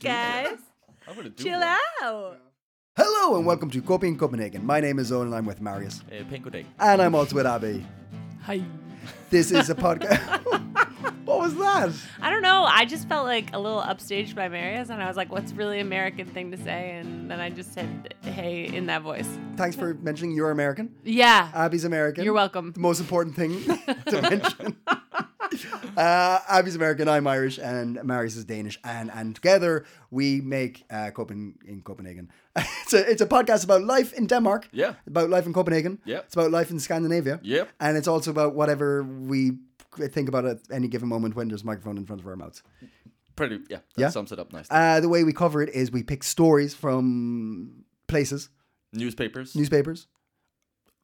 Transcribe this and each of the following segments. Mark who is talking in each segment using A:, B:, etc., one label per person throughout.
A: guys.
B: I'm gonna do
A: Chill
B: one.
A: out.
C: Hello and welcome to Copy in Copenhagen. My name is Owen and I'm with Marius.
B: Hey, pæn goddag.
C: And I'm also with Abby.
D: Hi.
C: This is a podcast. what was that?
A: I don't know. I just felt like a little upstaged by Marius, and I was like, "What's a really American thing to say?" And then I just said, "Hey" in that voice.
C: Thanks for mentioning you're American.
A: Yeah,
C: Abby's American.
A: you're welcome.
C: The most important thing to mention. uh, Abby's American, I'm Irish, and Marius is Danish. And, and together we make uh, Copen- in Copenhagen. it's, a, it's a podcast about life in Denmark.
B: Yeah.
C: About life in Copenhagen.
B: Yep.
C: It's about life in Scandinavia.
B: Yep.
C: And it's also about whatever we think about at any given moment when there's a microphone in front of our mouths.
B: Pretty, yeah, that
C: Yeah.
B: sums it up nicely.
C: Uh, the way we cover it is we pick stories from places,
B: Newspapers,
C: newspapers,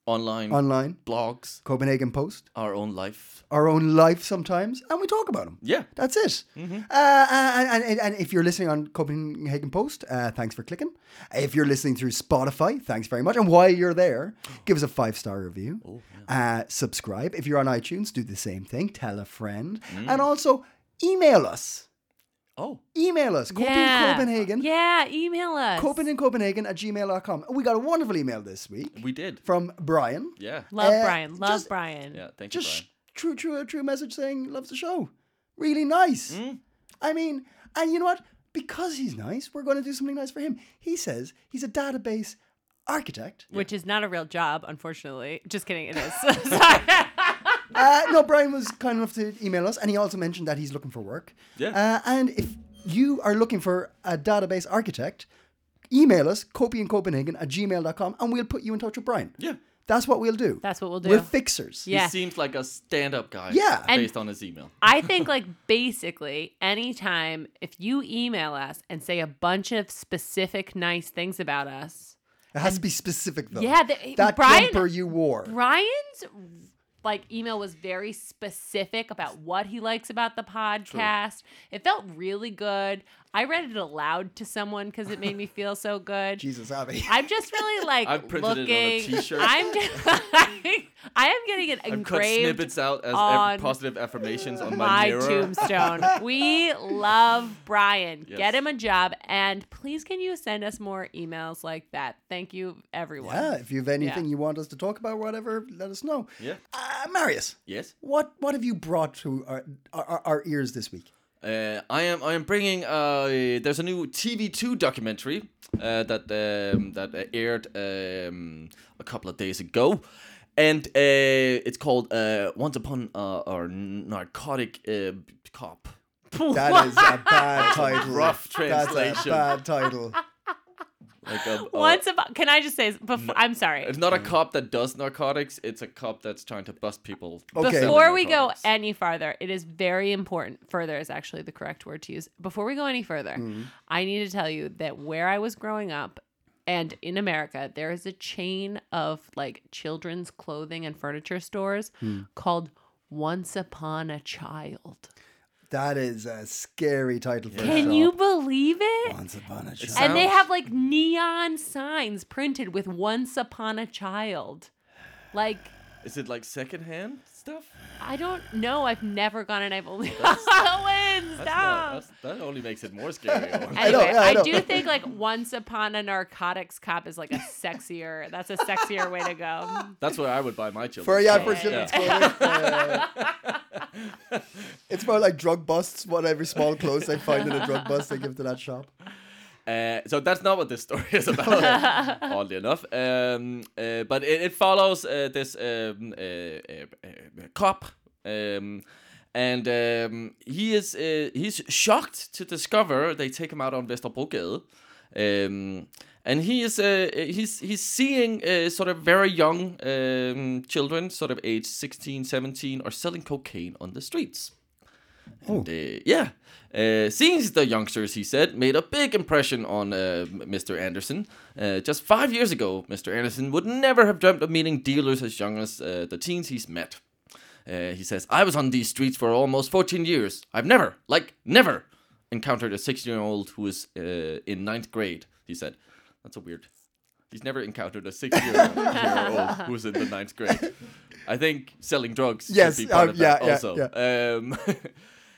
B: online,
C: online,
B: blogs,
C: Copenhagen Post,
B: our own life.
C: our own life sometimes, and we talk about them.
B: Yeah.
C: That's it. Uh, and, and, and if you're listening on Copenhagen Post, uh, thanks for clicking. If you're listening through Spotify, thanks very much. And while you're there, give us a five star review. uh, subscribe. If you're on iTunes, do the same thing. Tell a friend.
B: Mm.
C: And also, email us.
B: Oh,
C: Email us. Copy
A: yeah.
C: Copenhagen.
A: Yeah, email us.
C: Copenhagen, Copenhagen at gmail.com. We got a wonderful email this week
B: we did.
C: from Brian.
B: Yeah.
A: Love
C: Uh,
A: Brian. Love
C: just-
A: Brian.
B: Yeah. Thank
C: Just
B: you,
C: true, true, a true message saying loves the show. Really nice.
B: Mm.
C: I mean, and you know what? Because he's nice, we're going to do something nice for him. He says he's a database architect.
A: Which is not a real job, unfortunately. Just kidding, it is. Sorry.
C: uh, no, Brian was kind enough to email us, and he also mentioned that he's looking for work.
B: Yeah.
C: Uh, and if you are looking for a database architect, email us, copyincopenhagen at gmail.com, and we'll put you in touch with Brian.
B: Brian. Yeah.
C: That's what we'll do.
A: That's what we'll do.
C: We're fixers.
A: Yeah.
B: He seems like a stand-up guy.
C: Yeah.
A: And-
B: Based on his email.
A: I think like basically anytime if you email us and say a bunch of specific nice things about us.
C: It has to be specific, though.
A: Yeah, the-
C: that
A: Brian-
C: jumper you wore.
A: Brian's like email was very specific about what he likes about the podcast. It felt really good. I read it aloud to someone cuz it made me feel so good.
C: Jesus, Abby.
A: I'm just really like
B: I've printed it on
A: looking.
B: a t-shirt.
A: I'm just, I, am getting it
B: I've cut
A: engraved
B: snippets out as
A: on
B: ev- positive affirmations on my,
A: my
B: mirror.
A: tombstone. We love Brian.
B: Yes.
A: Get him a job, and please can you send us more emails like that? Thank you, everyone.
C: Yeah, if you have anything
A: Yeah.
C: you want us to talk about, whatever, let us know.
B: Yeah.
C: Uh, Marius,
B: Yes.
C: what what have you brought to our our, our ears this week?
B: Uh, I am. I am bringing. Uh, there's a new TV2 documentary uh, that um, that uh, aired um, a couple of days ago, and uh, it's called uh, "Once Upon uh, Our Narcotic uh, Cop."
C: That is a bad title.
B: rough
C: That's a
B: translation.
C: bad title.
B: Like a, a-
A: Once about, can I just say before? I'm sorry.
B: It's not
C: Mm.
B: a cop that does narcotics. It's a cop that's trying to bust people.
C: Okay.
B: selling
A: Before we go
B: narcotics.
A: any farther, it is very important. Further is actually the correct word to use. Before we go any further,
B: Mm-hmm.
A: I need to tell you that where I was growing up and in America, there is a chain of like children's clothing and furniture stores
B: Hmm.
A: called Once Upon a Child.
C: That is a scary title for a
A: Can
C: show.
A: you believe it?
C: Once upon a
B: It's-
C: child.
A: And they
B: Sounds-
A: have like neon signs printed with Once Upon a Child. Like,
B: is it like secondhand stuff?
A: I don't know. I've never gone and I've only. Owen,
B: That's
A: stop.
B: not, that's, that only makes it more scary.
C: I know,
A: Anyway, I,
C: yeah, I know.
A: do think like once upon a narcotics cop is like a sexier. That's a sexier way to go.
B: that's where I would buy my children.
C: For yeah, for
A: Yeah,
C: sure.
A: yeah.
C: It's, going- uh, it's more like drug busts. Whatever small clothes they find in a drug bust, they give to that shop.
B: Uh, so that's not what this story is about, oddly enough. Um, uh, but it, it follows uh, this um, uh, uh, uh, cop, um, and um, he is uh, he's shocked to discover they take him out on Vesterbrogade, um, and he is uh, he's he's seeing uh, sort of very young um, children, sort of age 16, 17, are selling cocaine on the streets. And, uh, yeah. Uh, seeing the youngsters, he said, made a big impression on uh, M- Mr. Anderson. Uh, just five years ago, Mr. Anderson would never have dreamt of meeting dealers as young as uh, the teens he's met. Uh, he says, I was on these streets for almost 14 years. I've never, like, never encountered a 16 year old who is uh, in ninth grade, he said. That's a weird. He's never encountered a 16 year old who is in the ninth grade. I think selling drugs
C: Yes,
B: should be part
C: um,
B: of that
C: yeah, yeah,
B: also.
C: yeah.
B: Um,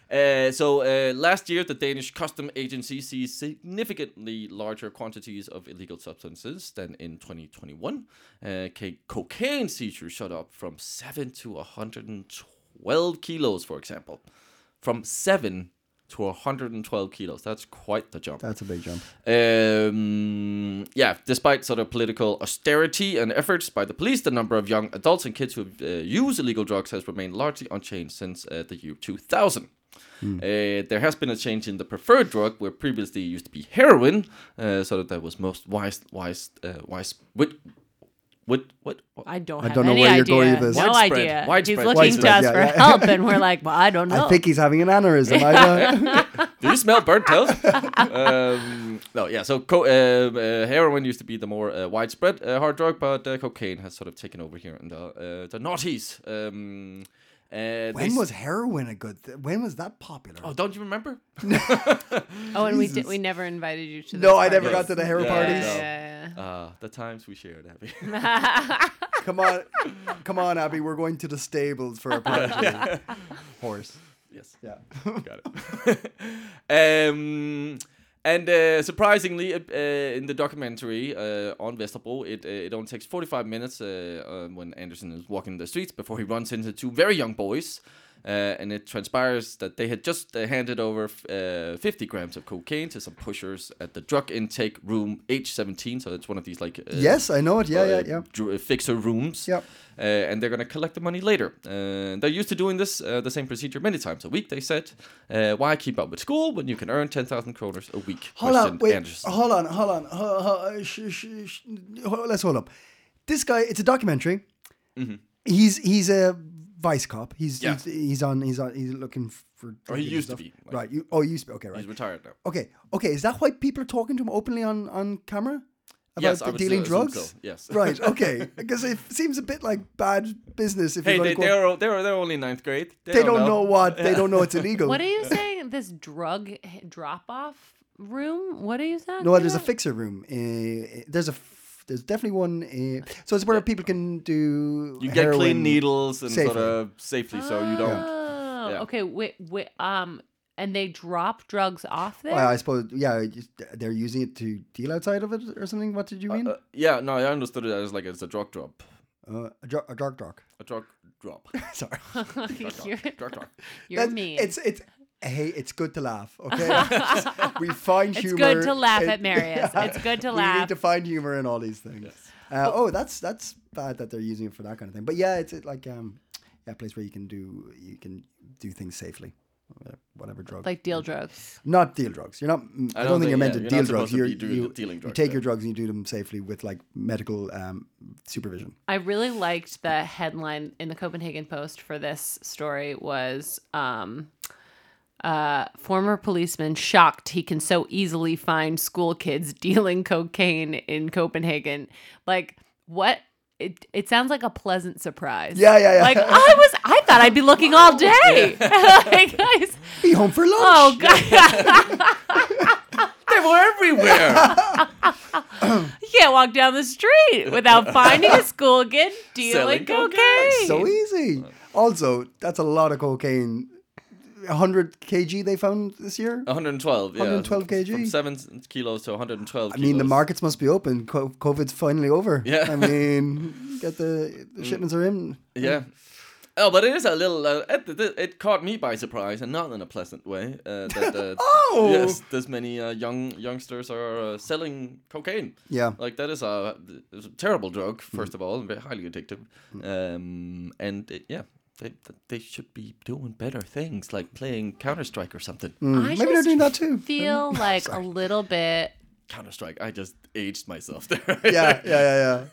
B: Uh, so uh, last year, the Danish custom agency sees significantly larger quantities of illegal substances than in 2021. Uh, ca- cocaine seizures shot up from 7 to 112 kilos, for example. From 7 to 112 kilos. That's quite the jump.
C: That's a big jump.
B: Um, yeah, despite sort of political austerity and efforts by the police, the number of young adults and kids who uh, use illegal drugs has remained largely unchanged since uh, the year 2000. Uh, there has been a change in the preferred drug, where previously it used to be heroin, uh, so that that was most wise, wise, uh, wise. What, what, what? what?
A: I don't.
C: I
A: Have
C: don't know
A: any
C: where you're
A: idea.
C: going with this.
A: No
B: Widespread,
A: idea.
B: widespread,
A: He's looking to us
C: widespread, yeah,
A: for
C: yeah.
A: help, and we're like, "Well, I don't know."
C: I think he's having an aneurysm. I don't-
B: Do you smell burnt toast? um, no, yeah. So co- um, uh, heroin used to be the more uh, widespread uh, hard drug, but uh, cocaine has sort of taken over here in the uh, the noughties. Um, uh, they
C: when
B: s-
C: was heroin a good? Th- when was that popular?
B: Oh, don't you remember?
A: oh, and we did, we never invited you to.
C: No,
A: those
C: I never
A: parties.
C: got to the hair
A: yeah,
C: parties.
A: Yeah, yeah,
B: Uh, the times we shared, Abby.
C: Come on, come on, Abby. We're going to the stables for a party. Horse.
B: yes.
C: Yeah.
B: Got it. um, and uh, surprisingly, uh, uh, in the documentary uh, on Vesterbro, it, uh, it only takes 45 minutes uh, uh, when Anderson is walking the streets before he runs into two very young boys. Uh, and it transpires that they had just uh, handed over f- uh, 50 grams of cocaine to some pushers at the drug intake room H17. So it's one of these like. Uh,
C: yes, I know it. Yeah, yeah,
B: uh,
C: yeah.
B: dr- uh, fixer rooms.
C: Yep.
B: Uh, and they're going to collect the money later. Uh, they're used to doing this, uh, the same procedure many times a week. They said, uh, "Why keep up with school when you can earn ten thousand kroners a week?"
C: Hold on,
B: questioned
C: wait.
B: Anderson.
C: Hold on, hold on. Ho- ho- sh- sh- sh- ho- Let's hold up. This guy. It's a documentary. He's he's a vice cop. He's
B: Mm-hmm. Yeah.
C: he's, he's on he's on he's looking for.
B: Or he
C: drugs and
B: used to be, like-
C: right. You, oh, he used to. be- Okay, right.
B: He's retired now.
C: Okay, okay. Is that why people are talking to him openly on on camera about
B: Yes, I
C: the
B: would
C: dealing
B: assume
C: drugs?
B: so, yes.
C: Right. Okay. Because it seems a bit like bad business if
B: Hey,
C: you're
B: they,
C: going to
B: they're, o- they're they're only ninth grade. They,
C: they don't know what they don't know it's illegal.
A: What are you saying? This drug drop off room? What are you saying?
C: no, there's a fixer room. Uh, there's a f- there's definitely one. Uh, so it's where people can do
B: You get
C: heroin.
B: clean needles and sort
C: safely. Ah.
B: of safely, so you don't.
A: Oh,
B: Yeah.
A: okay. Wait, wait, um, and they drop drugs off there.
C: Well, I suppose yeah, just- they're using it to deal outside of it or something. What did you mean?
B: Uh, yeah, no, I understood it as like it's a drug drop,
C: Uh, a, dr- a drug drug.
B: a drug drop,
C: Sorry.
A: you're
B: drug drop.
A: you're
C: That's-
A: mean.
C: It's it's hey, it's good to laugh. Okay, we find
A: It's
C: humor.
A: good to laugh
C: in-
A: at Marius. It's good to
C: We
A: laugh.
C: need to find humor in all these things. Uh, oh, that's that's bad that they're using it for that kind of thing. But yeah, it's it, like um, yeah, a place where you can do you can do things safely, whatever, whatever drug.
A: like
B: Mm.
A: deal drugs.
C: not deal drugs. You're not. mm, I, don't, think you're meant
B: yeah,
C: to
B: you're
C: deal
B: not supposed
C: drugs.
B: to
C: You're,
B: be doing
C: you,
B: the dealing
C: you
B: drugs,
C: take
B: yeah.
C: your drugs and you do them safely with like medical um, supervision.
A: I really liked the headline in the Copenhagen Post for this story was um, uh, former policeman shocked he can so easily find school kids dealing cocaine in Copenhagen. Like what? It, it sounds like a pleasant surprise.
C: Yeah, yeah, yeah.
A: Like I was, I thought I'd be looking all day. like, guys,
C: Be home for lunch.
A: oh god,
B: They were everywhere.
A: you can't walk down the street without finding a school kid dealing
B: Selling
A: cocaine.
B: cocaine.
C: so easy. Also, that's a lot of cocaine. 100 kg they found this year.
B: 112, yeah.
C: 112 kg?
B: From 7 kilos to 112
C: I mean, the
B: kilos.
C: markets must be open. Co- COVID's finally over.
B: Yeah. Mm.
C: I mean, get the, the shipments are in.
B: Yeah. Oh, but it is a little. Uh, it, it- it caught me by surprise, and not in a pleasant way. Uh, that, uh,
C: Oh!
B: Yes, this many uh, young youngsters are uh, selling cocaine.
C: Yeah.
B: Like that is a, it's a terrible drug,
C: Mm.
B: first of all, and very highly addictive. Um, and it, yeah, they they should be doing better things, like playing Counter Strike or something.
A: I
C: Maybe they're
A: just
C: doing that too.
A: Feel
B: Mm.
A: like a little bit.
B: Counter Strike. I just aged myself there.
C: Yeah, yeah, yeah, yeah.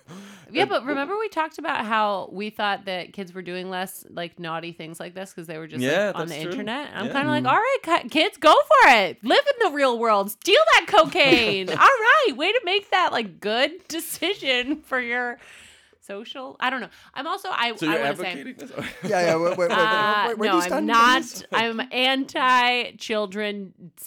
A: Yeah,
B: Uh,
A: but remember we talked about how we thought that kids were doing less like naughty things like this because they were just like,
B: Yeah,
A: on the
B: that's true.
A: internet. I'm
B: Yeah. Mm.
A: kind of like, all right, ki- kids, go for it. Live in the real world. Steal that cocaine. all right, way to make that like good decision for your social. I don't know. I'm also I.
B: So
A: I
B: you're
A: want to say.
B: advocating this?
C: Yeah, yeah. Wait, wait, wait, wait,
A: Uh,
C: wait, where do
A: no,
C: you stand
A: I'm
C: on
A: not.
C: this?
A: I'm anti children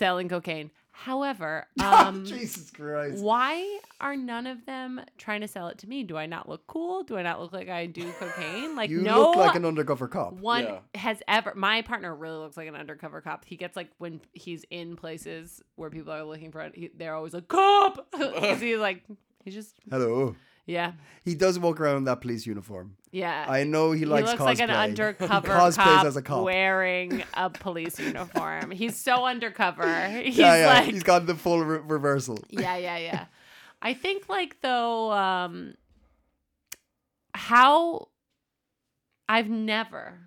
A: selling cocaine. However, um,
C: Oh, Jesus Christ.
A: why are none of them trying to sell it to me? Do I not look cool? Do I not look like I do cocaine? Like
C: You
A: no
C: look like an undercover cop.
A: one
B: Yeah.
A: has ever my partner really looks like an undercover cop he gets like when he's in places where people are looking for he, they're always like cop 'Cause he's like he's just
C: Hello.
A: yeah
C: He does walk around in that police uniform.
A: yeah
C: I know he likes
A: Uh, he looks
C: cosplay.
A: like an undercover
C: he cosplays
A: cop,
C: as a cop.
A: wearing a police uniform he's so undercover he's
C: yeah, yeah.
A: like
C: he's got the full re- reversal.
A: yeah yeah yeah i think like though um how i've never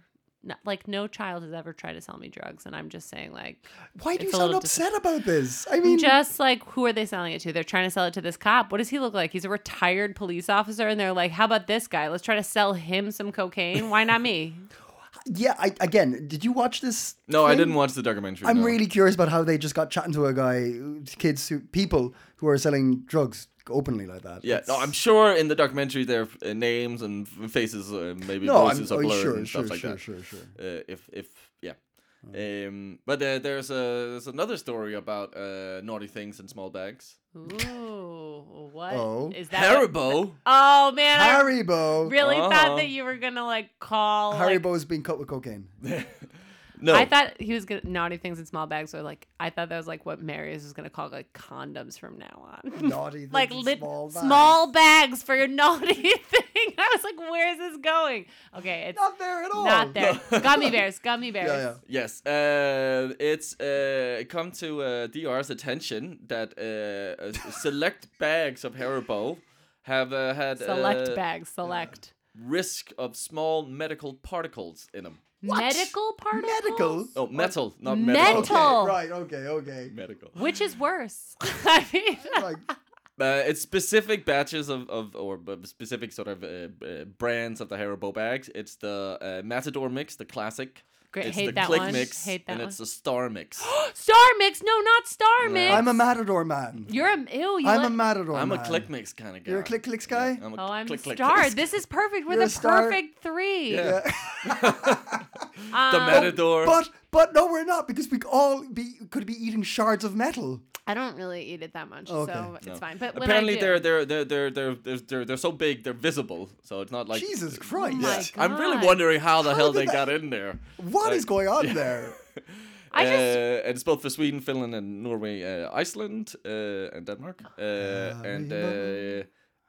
A: no- like no child has ever tried to sell me drugs and i'm just saying like
C: Why
A: It's
C: do you
A: a
C: sound
A: little
C: upset about this? I mean,
A: just like who are they selling it to they're trying to sell it to this cop what does he look like he's a retired police officer and they're like how about this guy let's try to sell him some cocaine why not me
C: yeah. I, again, did you watch this?
B: No, I
C: thing?
B: didn't watch the documentary.
C: I'm
B: no.
C: really curious about how they just got chatting to a guy, kids, who, people who are selling drugs openly like that.
B: Yeah, no, I'm sure in the documentary there are uh, names and f- faces, uh, maybe
C: No, I'm
B: voices
C: oh,
B: are blurred
C: sure,
B: and
C: sure,
B: stuff like
C: sure,
B: that.
C: sure, sure. Oh.
B: Uh, if if yeah, um, but uh, there's a there's another story about uh, naughty things in small bags.
A: ooh what is
C: Oh.
A: that what-
B: Haribo.
A: oh man i
C: Haribo.
A: really
B: Oh.
A: thought that you were gonna like call like,
C: Haribo's been cut with cocaine.
B: no,
A: I thought he was gonna naughty things in small bags or like I thought that was like what Marius was gonna call like condoms from now on.
C: Naughty,
A: like
C: little
A: lit,
C: small,
A: small,
C: bag.
A: bags for your naughty thing. I was like, where is this going? Okay, it's
C: Not there at all.
A: not there. gummy bears, gummy bears.
C: Yeah, yeah.
B: Yes, uh, it's uh, come to uh, DR's attention that uh, uh, select bags of Haribo have uh, had
A: Select
B: uh,
A: bags, select.
B: risk of small medical particles in them.
A: Medical particles.
C: Medical.
B: Oh, metal, not
A: Metal.
B: medical.
A: Dental.
C: Okay, right. Okay. Okay.
B: Medical.
A: Which is worse? I mean,
C: Like,
B: Uh, it's specific batches of, of or b- specific sort of uh, uh, brands of the Haribo bags. It's the uh, Matador mix, the classic.
A: Great,
B: It's
A: hate
B: the
A: that
B: Click
A: one,
B: mix,
A: hate that
B: and
A: one. Oh
B: it's the Star mix.
A: star mix. No, not star
B: No.
A: mix.
C: I'm a matador man.
A: You're a ew. You
C: I'm
A: let-
C: a matador.
B: I'm
C: man.
B: a click mix kind of guy.
C: You're a click clicks guy?
B: Yeah, I'm a
A: Oh, I'm
B: click, click,
A: star.
B: clicks.
A: This is perfect. We're
C: You're a
A: the
C: star.
A: perfect three.
B: Yeah.
A: Um,
B: The Matador.
C: But but no, we're not because we all be could be eating shards of metal.
A: I don't really eat it that much,
C: Okay.
A: so it's
B: No.
A: fine. But when I
B: Apparently
A: do,
B: they're they're they're they're they're they're they're they're so big they're visible, so it's not like uh,
C: Jesus Christ!
A: my
C: What
A: Yeah.
C: is
B: I'm really
A: God.
B: wondering how the hell
C: did
B: they
C: that-
B: got in there.
C: going on there?
A: I just
B: uh, and it's both for Sweden, Finland, and Norway, uh, Iceland, uh, and Denmark. Uh,
C: Ah,
B: and uh,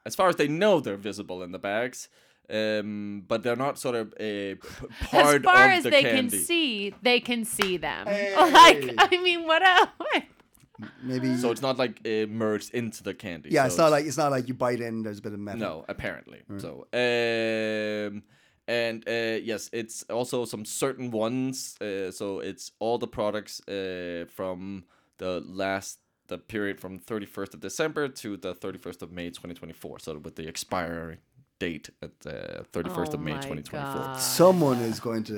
B: as far as they know, they're visible in the bags, um, but they're not sort of a p- part
A: as far
B: of
A: as
B: the
A: they
B: candy.
A: can see, they can see them.
C: Hey.
A: Like I mean, what else?
C: Maybe.
B: So it's not like uh, merged into the candy.
C: yeah,
B: so
C: it's not like it's not like you bite in. There's a bit of metal.
B: No, apparently. So, um, and uh, yes, it's also some certain ones. Uh, so it's all the products uh, from the last the period from 31st of December to the 31st of May 2024. So with the expiry date at the 31st
A: Oh
B: of May
A: my
B: 2024.
A: God.
C: Someone is going to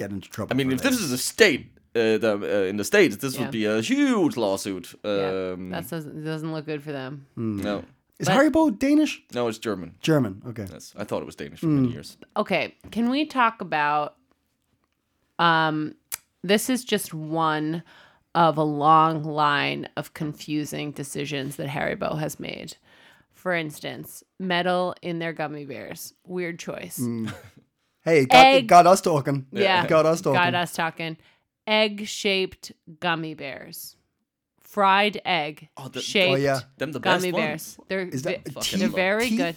C: get into trouble.
B: I mean,
C: for
B: if this is a state. Uh, the, uh, in the states, this
A: Yeah.
B: would be a huge lawsuit.
A: Yeah,
B: Um,
A: that doesn't doesn't look good for them.
B: no,
C: is Haribo Danish?
B: no, it's German.
C: German. Okay.
B: Yes, I thought it was Danish for many years.
A: Okay, can we talk about? Um, this is just one of a long line of confusing decisions that Haribo has made. For instance, metal in their gummy bears. Weird choice.
C: Mm. Hey, it got, it
A: Egg.
C: got us talking.
A: Yeah.
C: It got us talking.
A: got us talking. Egg shaped gummy bears. Fried egg
B: Oh, the-
A: shaped
C: Oh, yeah.
B: Them the
A: gummy
B: best ones.
A: bears. They're
C: Is that
A: ve-
B: Fucking
A: they're
B: love
A: very
C: teeth,
A: good.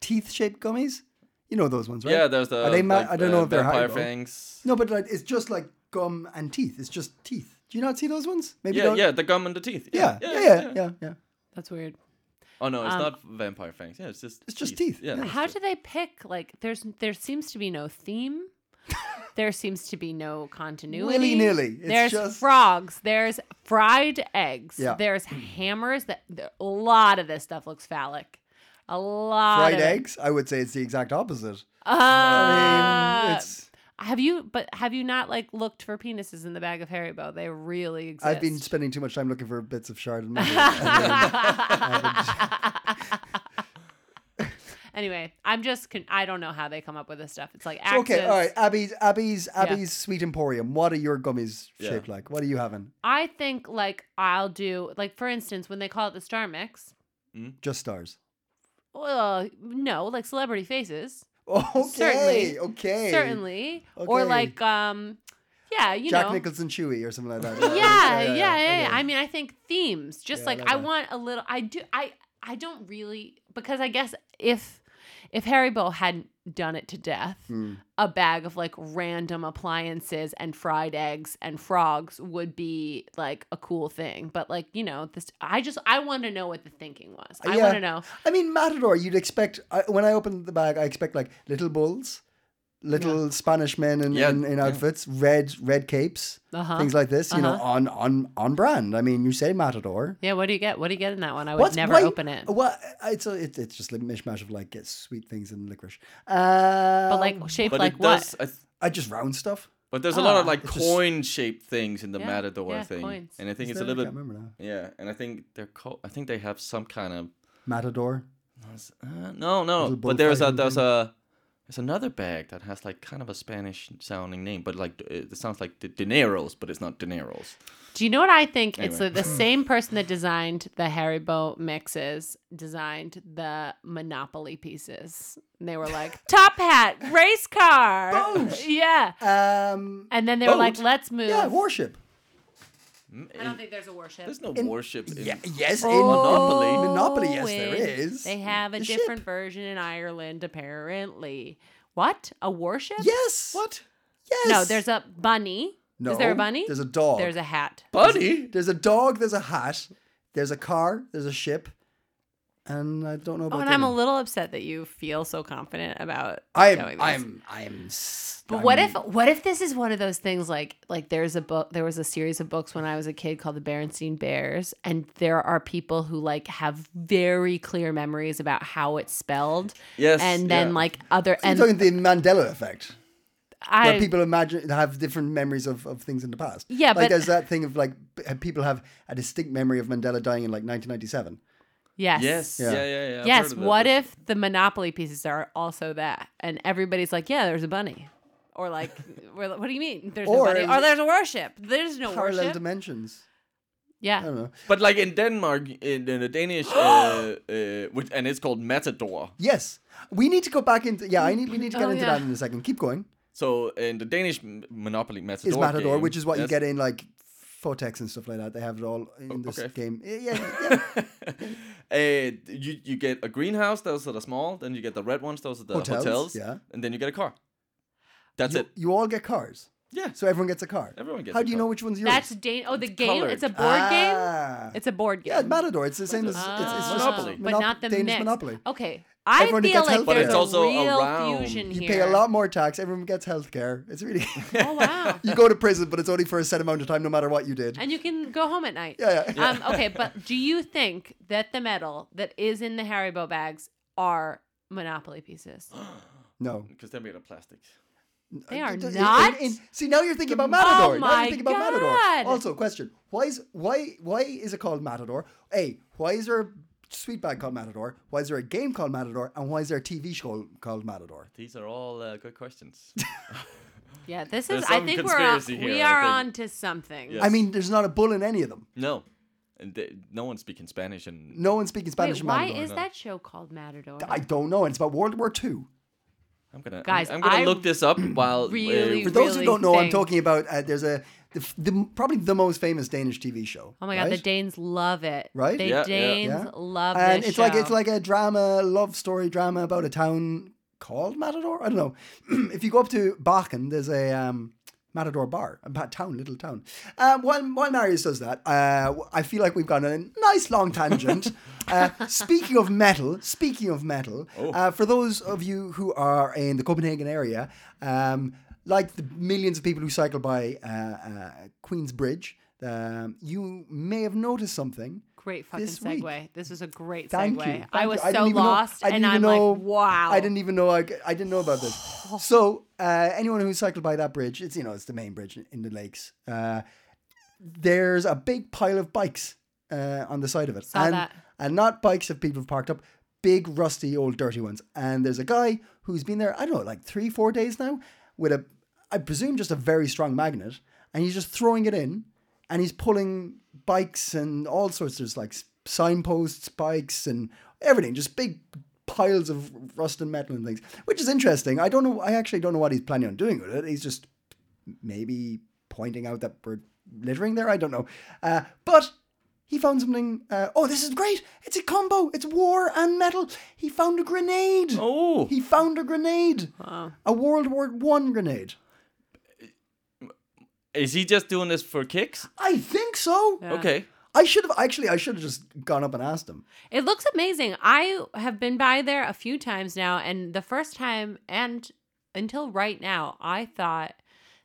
C: Teeth shaped gummies. You know those ones, right?
B: Yeah, there's the.
C: Are they ma-
B: like,
C: I don't
B: uh,
C: know if they're
B: vampire
C: Haribo.
B: fangs.
C: No, but like, it's just like gum and teeth. It's just teeth. Do you not see those ones? Maybe
B: Yeah,
C: don't.
B: yeah, the gum and the teeth.
C: Yeah, yeah, yeah, yeah, yeah.
A: That's weird.
B: Oh no, it's not vampire fangs. Yeah, it's just
C: It's just teeth,
B: Yeah. it's
C: yeah.
A: Um, How
B: just-
A: do they pick? Like, there's there seems to be no theme. there seems to be no continuity.
C: Willy-nilly. It's
A: There's
C: just-
A: frogs. There's fried eggs.
C: Yeah.
A: There's hammers. That there- a lot of this stuff looks phallic. A lot.
C: Fried
A: of it.
C: eggs. I would say it's the exact opposite. I
A: Uh,
C: mean, it's.
A: Have you? But have you not like looked for penises in the bag of Haribo? They really exist.
C: I've been spending too much time looking for bits of shard and metal. I mean,
A: Anyway, I'm just con- I don't know how they come up with this stuff. It's like
C: So,
A: axes.
C: okay, all right. Abby's Abby's Abby's Sweet Emporium. What are your gummies
B: Yeah.
C: shaped like? What are you having?
A: I think like I'll do like for instance when they call it the star mix.
C: Just stars.
A: Well, no, like celebrity faces,
C: Okay.
A: Certainly.
C: Okay.
A: certainly, or
C: Okay.
A: like um, yeah, you
C: Jack
A: know,
C: Nicholson Chewy or something like
A: yeah,
C: that.
A: yeah, yeah, yeah.
C: okay.
A: I mean, I think themes. Just
C: Yeah, I
A: like
C: like
A: I
C: that.
A: want a little. I do. I I don't really because I guess if if Harry Bow hadn't done it to death,
C: Hmm.
A: a bag of like random appliances and fried eggs and frogs would be like a cool thing. But like you know, this I just I want to know what the thinking was. I
C: Yeah.
A: want to know.
C: I mean, Matador, you'd expect, I, when I open the bag, I expect like little bulls, little Spanish men in,
B: Yeah,
C: in, in
B: yeah.
C: outfits, red red capes,
A: Uh huh.
C: things like this, you know,
A: Uh-huh.
C: on, on, on brand. I mean, you say Matador.
A: yeah. What do you get? What do you get in that one? I would
C: What's-
A: never
C: why- uh,
A: open it.
C: Well, it's, a, it, it's just a mishmash of like uh, sweet things and licorice. Uh,
A: But like shaped
B: But
A: like
B: it
A: what?
B: does. I th-
C: I just round stuff.
B: but there's a lot of
A: Ah.
B: like
C: It's just-
B: coin-shaped things in the
A: Yeah,
B: Matador
A: yeah,
B: thing,
A: coins.
B: and I think
C: Is
B: it's a
C: there? I
B: little
C: can't
B: bit.
C: remember now.
B: Yeah, and I think they're called. I think they have some kind of.
C: Matador.
B: Uh, no, no.
C: Little
B: But there's a
C: bullfighting
B: there's
C: thing.
B: a there's another bag that has like kind of a Spanish sounding name, but like it it sounds like the dineros, but it's not dineros.
A: Do you know what I think? It's
B: Anyway.
A: the, the same person that designed the Haribo mixes designed the Monopoly pieces. And they were like top hat, race car,
C: Boat!
A: yeah.
C: Um,
A: And then they were like,
C: Boat?
A: let's move.
C: yeah, warship.
A: I don't think there's a warship.
B: Mm, There's no
C: In-
B: warship. In,
C: Yeah, yes,
A: Oh.
C: in
B: Monopoly.
C: in Monopoly, yes, there
A: in-
C: is.
A: They have a
C: The ship.
A: different version in Ireland, apparently. What? A warship?
C: Yes.
B: What?
C: Yes.
A: No, there's a bunny.
C: No,
A: Is there a bunny?
C: There's a dog.
A: There's a hat.
B: Buddy?
C: There's a dog. There's a hat. There's a car. There's a ship. And I don't know about.
A: Oh, and I'm a
C: dinner.
A: little upset that you feel so confident about
C: I'm.
A: going this.
C: I'm. I'm. s-
A: But
C: I'm-
A: what if what if this is one of those things like like there's a book there was a series of books when I was a kid called the Berenstain Bears and there are people who like have very clear memories about how it's spelled
B: Yes.
A: and then
B: yeah.
A: like other
C: You're
A: and
C: talking the Mandela effect, where
A: I
C: people imagine have different memories of, of things in the past.
A: Yeah,
C: like
A: but-
C: there's that thing of like b- uh, people have a distinct memory of Mandela dying in like 1997.
A: yes
B: Yes.
C: Yeah.
B: Yeah. Yeah. yeah, I've heard
A: yes
B: of that.
A: what
B: That's-
A: if the Monopoly pieces are also that and everybody's like yeah there's a bunny or like we're like, what do you mean there's
C: Or-
A: no bunny or there's a worship there's no
C: Parallel
A: worship
C: dimensions.
A: yeah
C: I don't know.
B: But like in Denmark, in, in the Danish, uh, uh, which and it's called matador.
C: Yes, we need to go back into. Yeah, I need. We need to get
A: Oh,
C: into
A: yeah.
C: that in a second. Keep going.
B: So in the Danish m- Monopoly, matador
C: is Matador,
B: game,
C: which is what you
B: yes. Oh,
C: get in like Fotex and stuff like that. They have it all in this
B: okay.
C: game. Yeah, yeah, yeah.
B: Uh, you you get a greenhouse. Those are the small. Then you get the red ones. Those are the
C: Hotels,
B: hotels.
C: yeah.
B: And then you get a car. That's
C: you,
B: it.
C: you all get cars,
B: Yeah.
C: so everyone gets a car.
B: Everyone gets
C: How
B: a
C: do you
B: car.
C: know which one's yours?
A: that's Dan- oh the game
B: colored.
A: it's a board game
C: ah.
A: it's a board game Ah.
C: yeah, Matador. It's the same as it's, it's just
B: Monopoly.
A: but
C: Monop-
A: not the
C: Danish
A: mix.
C: Monopoly.
A: Okay, I
C: Everyone
A: feel
C: gets
A: like
C: health
A: there's
C: care. But it's
B: also
A: a real
B: around.
A: fusion
B: You
A: here.
C: You pay a lot more tax. Everyone gets health care. It's really
A: Oh wow!
C: you go to prison, but it's only for a set amount of time, no matter what you did.
A: and you can go home at night.
C: Yeah, yeah.
A: Um, okay, but do you think that the metal that is in the Haribo bags are Monopoly pieces?
C: No,
B: Because they're made of plastic.
A: They are
C: In- in-
A: not.
C: in- see, now you're thinking about
A: Oh
C: Matador. now
A: my
C: you're thinking about
A: God.
C: Matador. Also, question: Why is why why is it called Matador? A. Why is there a sweet bag called Matador? Why is there a game called Matador? And why is there a TV show called Matador?
B: These are all uh, good questions.
A: yeah, this is.
B: There's
A: I
B: some
A: think we're on,
B: conspiracy here,
A: we
B: I
A: are
B: think.
A: on to something.
B: Yeah.
C: I mean, there's not a bull in any of them.
B: no, and they, no one's speaking Spanish and
C: No one's speaking Spanish.
A: Wait,
C: in
A: why
C: Matador.
A: is that show called Matador?
C: I don't know. And it's about World War Two.
B: I'm gonna
A: Guys,
B: I'm, I'm gonna
A: I
B: look this up while uh,
A: really-
C: For those
A: Really
C: who don't know, I'm
A: think-
C: talking about uh, there's a the, f- the probably the most famous Danish TV show.
A: Oh my god, the
C: right?
A: Danes love it.
C: Right?
A: The
B: Yeah, yeah.
A: Danes
C: Yeah.
A: love
C: and
A: this
C: it's like it's
A: show.
C: like a drama, love story drama about a town called Matador. I don't know. if you go up to Bakken, there's a um, Matador bar, a ba- town, little town. Um, while while Marius does that, uh, w- I feel like we've gone on a nice long tangent. uh, speaking of metal, speaking of metal, uh, for those of you who are in the Copenhagen area. Um, like the millions of people who cycle by uh, uh, Queen's Bridge, um, you may have noticed something.
A: Great fucking
C: This
A: segue.
C: week.
A: This was a great
C: Thank
A: segue.
C: you. Thank
A: I
C: you.
A: was so
C: didn't even know-
A: lost,
C: I didn't
A: and I'm
C: even know-
A: like, wow.
C: I didn't even know. I, I didn't know about this. So uh, anyone who cycled by that bridge, it's you know it's the main bridge in the lakes. Uh, there's a big pile of bikes uh, on the side of it,
A: Saw
C: and
A: that.
C: and not bikes of people parked up, big, rusty, old, dirty ones. And there's a guy who's been there, I don't know, like three, four days now, with a, I presume, just a very strong magnet. And he's just throwing it in and he's pulling bikes and all sorts. There's like s- signposts, bikes, and everything, just big piles of rust and metal and things, which is interesting. I don't know, I actually don't know what he's planning on doing with it. He's just maybe pointing out that we're littering there. I don't know. Uh, but he found something. Uh, oh, this is great! It's a combo. It's war and metal. He found a grenade.
B: Oh.
C: He found a grenade. A World War One grenade.
B: Is he just doing this for kicks?
C: I think so.
A: Yeah.
B: Okay.
C: I should have actually. I should have just gone up and asked him.
A: It looks amazing. I have been by there a few times now, and the first time and until right now, I thought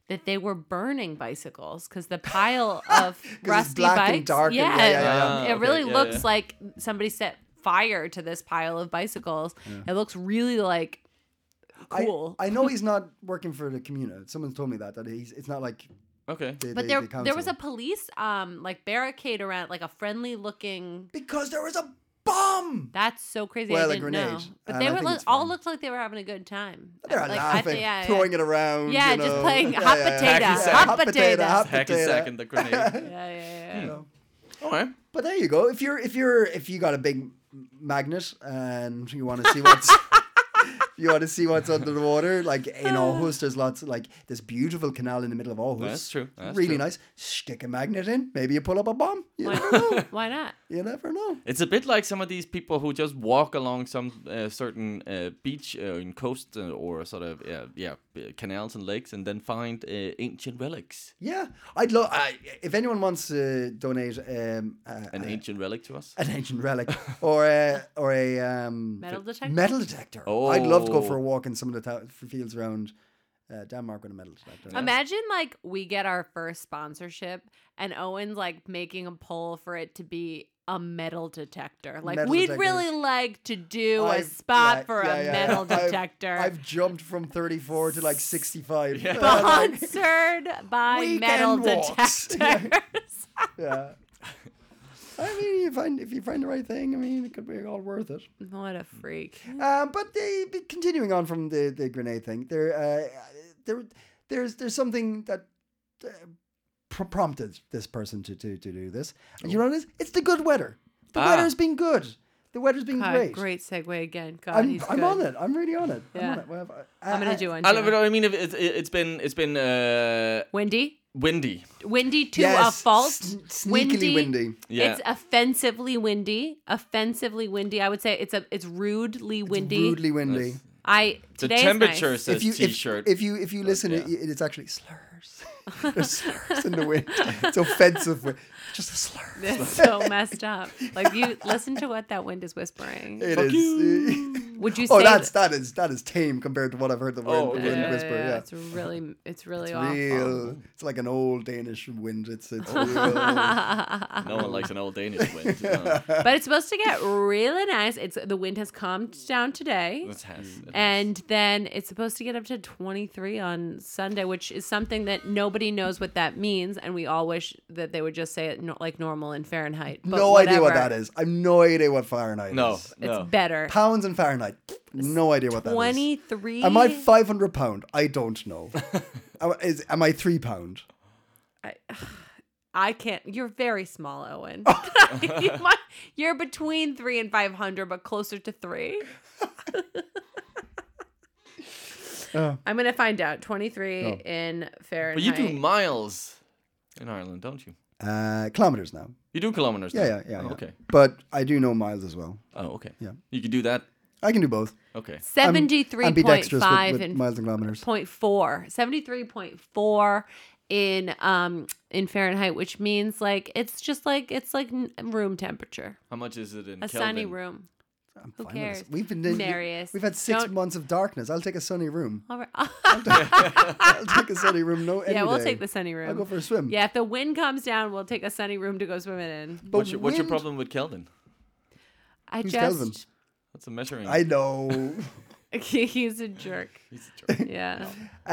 A: that they were burning bicycles because the pile of
C: 'Cause it's
A: rusty
C: black and
A: bikes.
C: dark and-
A: yeah,
C: yeah, yeah,
B: yeah, yeah.
A: it
B: Ah,
A: really
B: okay, yeah,
A: looks
B: yeah.
A: like somebody set fire to this pile of bicycles. It looks really like
C: I-
A: cool.
C: I, know he's not working for the Comuna. Someone told me that. That he's. It's not like.
B: Okay.
C: The,
A: but
C: the,
A: there,
C: the
A: there was
C: council.
A: a police um like barricade around like a friendly looking
C: because there was a bomb.
A: that's so crazy
C: Well,
A: I
C: a
A: didn't
C: grenade,
A: know but
C: and
A: they
C: I
A: were
C: think
A: look,
C: it's
A: all
C: fine.
A: looked like they were having a good time Uh,
C: They're
A: like, I
C: laughing,
A: thi- yeah, yeah.
C: throwing it around.
A: Yeah,
C: you
A: just
C: know.
A: playing
C: Yeah,
A: hot
C: yeah, yeah.
A: potato,
B: Hacky sack.
A: hot
C: Hot potato,
A: potato.
C: hot
B: Hacky
C: potato.
B: sack and the grenade.
A: yeah, yeah, yeah.
B: All right.
C: But there you go. If you're if you're if you got a big magnet and you want to see what's you want to see what's under the water, like in Aarhus, there's lots of, like this beautiful canal in the middle of Aarhus.
B: That's true. That's
C: really
B: true.
C: nice. Stick a magnet in. Maybe you pull up a bomb. You never know.
A: Why, why not?
C: You never know.
B: It's a bit like some of these people who just walk along some uh, certain uh, beach uh, in coast uh, or sort of uh, yeah uh, canals and lakes and then find uh, ancient relics.
C: Yeah, I'd love. I if anyone wants to donate um, uh,
B: An ancient relic to us.
C: an ancient relic or a or a um,
A: Metal detector?
C: Metal detector. I'd love to go
B: Oh.
C: for a walk in some of the th- fields around uh, Denmark with a metal detector.
A: Imagine like we get our first sponsorship and Owen's like making a poll for it to be a metal detector. Like
C: Metal
A: we'd
C: detector.
A: really like to do a
C: I've-
A: spot
C: yeah,
A: for
C: yeah,
A: a
C: yeah.
A: metal
C: I've-
A: detector.
C: I've, jumped from 34 to like 65. Yeah.
A: Sponsored by
C: Weekend
A: metal
C: walks.
A: detectors.
C: yeah. I mean, you find if you find the right thing, I mean, it could be all worth it.
A: what a freak.
C: Um, but they, but continuing on from the, the grenade thing, there, uh, there, there's there's something that uh, pr- prompted this person to, to, to do this. And you know what it is? It's the good weather. The
B: Ah.
C: weather's been good. The weather's been
A: God,
C: great.
A: great. segue again. God,
C: I'm,
A: he's
C: I'm
A: good.
C: on it. I'm really on it.
A: Yeah.
C: I'm on it. Well, I-
A: I'm
C: I-
A: gonna do one.
B: I love
A: too.
B: it. I mean, it, it, it's been it's been uh,
A: Windy,
B: windy.
A: windy to a
C: Yes,
A: fault.
C: sn- sneakily windy.
B: Yeah.
A: It's offensively windy. Offensively windy. I would say it's a it's rudely windy.
C: Rudely windy.
A: I
B: The
A: today
B: temperature
A: is nice.
B: says
C: if you
B: t-shirt.
C: If, if you if you listen, it,
B: yeah.
C: it's actually slurs. There's slurs in the wind. It's offensive. wi- Just a slur.
A: It's so messed up. Like you listen to what that wind is whispering.
C: It is.
A: Would you say?
C: oh, that's that is that is tame compared to what I've heard the wind,
B: Oh,
C: wind
B: okay. Yeah,
C: whisper. Yeah,
A: It's really it's really awful.
C: real. It's like an old Danish wind. It's it's real.
B: no one likes an old Danish wind. No.
A: But it's supposed to get really nice. It's the wind has calmed down today.
B: It has. it
A: And then it's supposed to get up to 23 on Sunday, which is something that nobody knows what that means. And we all wish that they would just say it no, like normal in Fahrenheit. But
C: no idea what that
A: whatever.
C: is. I've no idea what Fahrenheit
B: No,
C: is.
A: It's
B: no.
A: better.
C: Pounds in Fahrenheit. No idea what that is.
A: 23.
C: Am I five hundred pound? I don't know. am, is, am I three pound?
A: I can't. You're very small, Owen.
C: Oh.
A: You might- You're between three and 500, but closer to three.
C: Oh.
A: I'm going to find out. 23 in
B: But
A: Fahrenheit.
B: you do miles in Ireland, don't you?
C: Uh, kilometers now.
B: You do kilometers.
C: Yeah,
B: now.
C: yeah, yeah,
B: Oh,
C: yeah.
B: Okay.
C: But I do know miles as well.
B: Oh, okay.
C: Yeah.
B: You could do that.
C: I can do both.
B: Okay.
C: I'm- I'm
A: 73.5
C: with, with
A: in
C: miles and kilometers.
A: Point four, seventy-three point four in um in Fahrenheit, which means like it's just like it's like n- room temperature,
B: How much is it in
A: a
B: Kelvin?
A: sunny room.
C: I'm
A: Who
C: fine with this.
A: cares?
C: We've been in,
A: Marius,
C: We've had 6
A: don't-
C: months of darkness. I'll take a sunny room.
A: All right.
C: I'll take a sunny room. No, any
A: yeah, we'll
C: day.
A: take the sunny room.
C: I'll go for a swim.
A: yeah, if the wind comes down, we'll take a sunny room to go swimming in.
C: But
B: What's your, what's your
C: wind-
B: problem with Kelvin?
A: I
C: Who's
A: just
C: Kelvin?
B: That's a measuring.
C: I know.
A: He's a jerk.
B: He's a jerk.
A: Yeah.
C: Uh,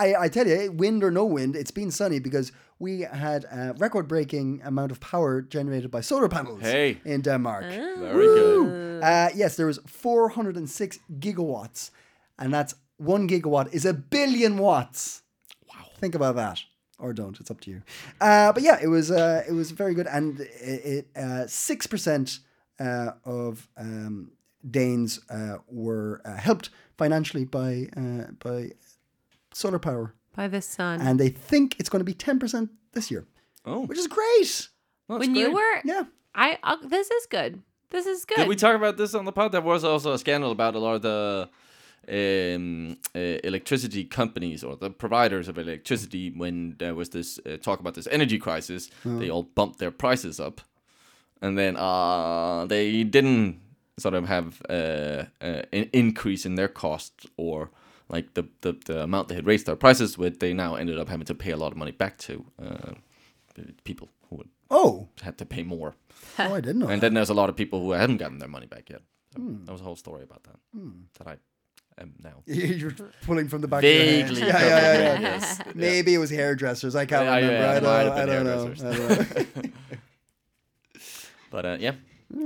C: I, I tell you, wind or no wind, it's been sunny because we had a record breaking amount of power generated by solar panels
B: Hey.
C: in Denmark.
A: Ah.
B: Very good.
C: Uh, yes, there was 406 gigawatts, and that's one gigawatt is a billion watts. Wow! Think about that, or don't. It's up to you. Uh, but yeah, it was uh, it was very good, and it six percent uh, of um, Danes uh, were uh, helped financially by uh, by solar power,
A: By the sun.
C: and they think it's going to be ten percent this year,
B: Oh,
C: which is great.
B: that's
A: when you
B: great.
A: were,
C: Yeah.
A: I. Uh, this is good. This is good.
B: Did we talk about this on the pod? There was also a scandal about a lot of the um, uh, electricity companies or the providers of electricity when there was this uh, talk about this energy crisis. They all bumped their prices up, and then uh, they didn't sort of have uh, uh, an increase in their costs or like the, the the amount they had raised their prices with. They now ended up having to pay a lot of money back to uh, people who had-
C: Oh,
B: had to pay more.
C: oh, I didn't know.
B: And
C: that.
B: then there's a lot of people who haven't gotten their money back yet. So
C: Hmm.
B: There was a whole story about that that I am now
C: You're pulling from the back. Of
B: vaguely.
C: Hmm. your head. Yeah, yeah, yeah, yeah.
B: remember, yes. Yeah.
C: Maybe it was hairdressers. I can't
B: Yeah, yeah,
C: remember.
B: yeah, it might have
C: I,
B: been
C: don't, know. I don't know. I don't know.
B: But uh, yeah,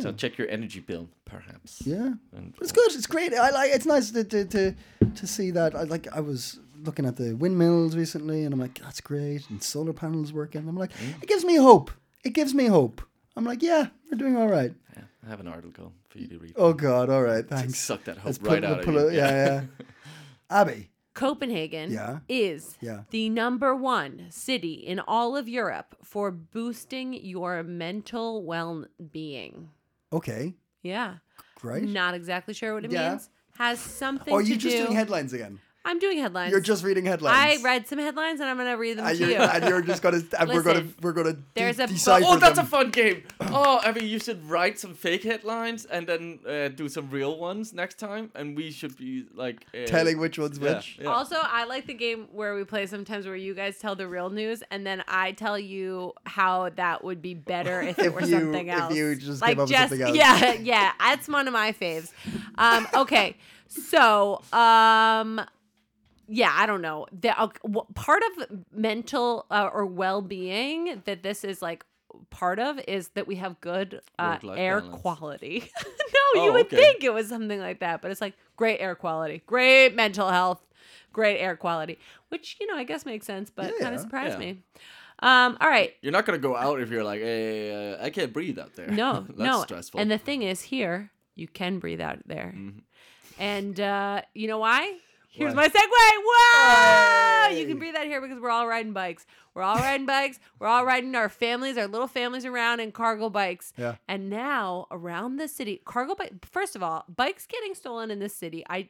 B: so check your energy bill, perhaps.
C: Hmm. yeah,
B: And,
C: But it's good. It's great. I like. It's nice to to to, to see that. I like. I was looking at the windmills recently, and I'm like, that's great. And solar panels working. I'm like,
B: Mm.
C: it gives me hope. It gives me hope. I'm like, yeah, we're doing all right.
B: yeah, I have an article for you to read.
C: Oh God, all right, thanks.
B: Suck that hope
C: Let's
B: right
C: pull-
B: out
C: pull
B: of you.
C: it- Yeah, yeah. Abby.
A: Copenhagen
C: Yeah.
A: is
C: Yeah.
A: the number one city in all of Europe for boosting your mental well being.
C: Okay.
A: Yeah.
C: Great.
A: Not exactly sure what it
C: Yeah.
A: means. Has something
C: Or are
A: to
C: you just
A: do.
C: doing headlines again?
A: I'm doing headlines.
C: You're just reading
A: I
C: headlines.
A: read some headlines and I'm gonna read them
C: and
A: to
C: you're,
A: you.
C: and you're just gonna and we're gonna
A: Listen,
C: we're gonna de-
A: there's a bu-
C: decipher
B: Oh, that's
C: them.
B: a fun game. Oh, I mean, you should write some fake headlines and then uh, do some real ones next time, and we should be like uh,
C: telling which one's
B: yeah,
C: which.
B: yeah.
A: Also, I like the game where we play sometimes where you guys tell the real news and then I tell you how that would be better if it
C: If
A: were
C: you-
A: something
C: if
A: else.
C: you just
A: like
C: came up with
A: just
C: something else.
A: yeah, yeah, that's one of my faves. Um, okay, so um, yeah, I don't know. The, uh, wh- part of mental uh, or well-being that this is like part of is that we have good uh,
B: Work-life
A: air
B: balance.
A: quality. no,
B: Oh,
A: you would
B: okay.
A: think it was something like that, but it's like great air quality, great mental health, great air quality, which you know I guess makes sense, but
C: Yeah,
A: kind
C: yeah.
A: of surprised
B: Yeah.
A: me. Um, all right,
B: You're not gonna go out if you're like, hey, uh, I can't breathe out there.
A: no,
B: that's
A: no,
B: stressful. Mm-hmm.
A: and the thing is, here you can breathe out there, and uh, you know why? Here's
B: Why?
A: my segue. Whoa! Ah, You
C: Hey!
A: can breathe out here because we're all riding bikes. We're all riding bikes. We're all riding our families, our little families around in cargo bikes.
C: Yeah.
A: And now around the city, cargo bike. First of all, bikes getting stolen in this city. I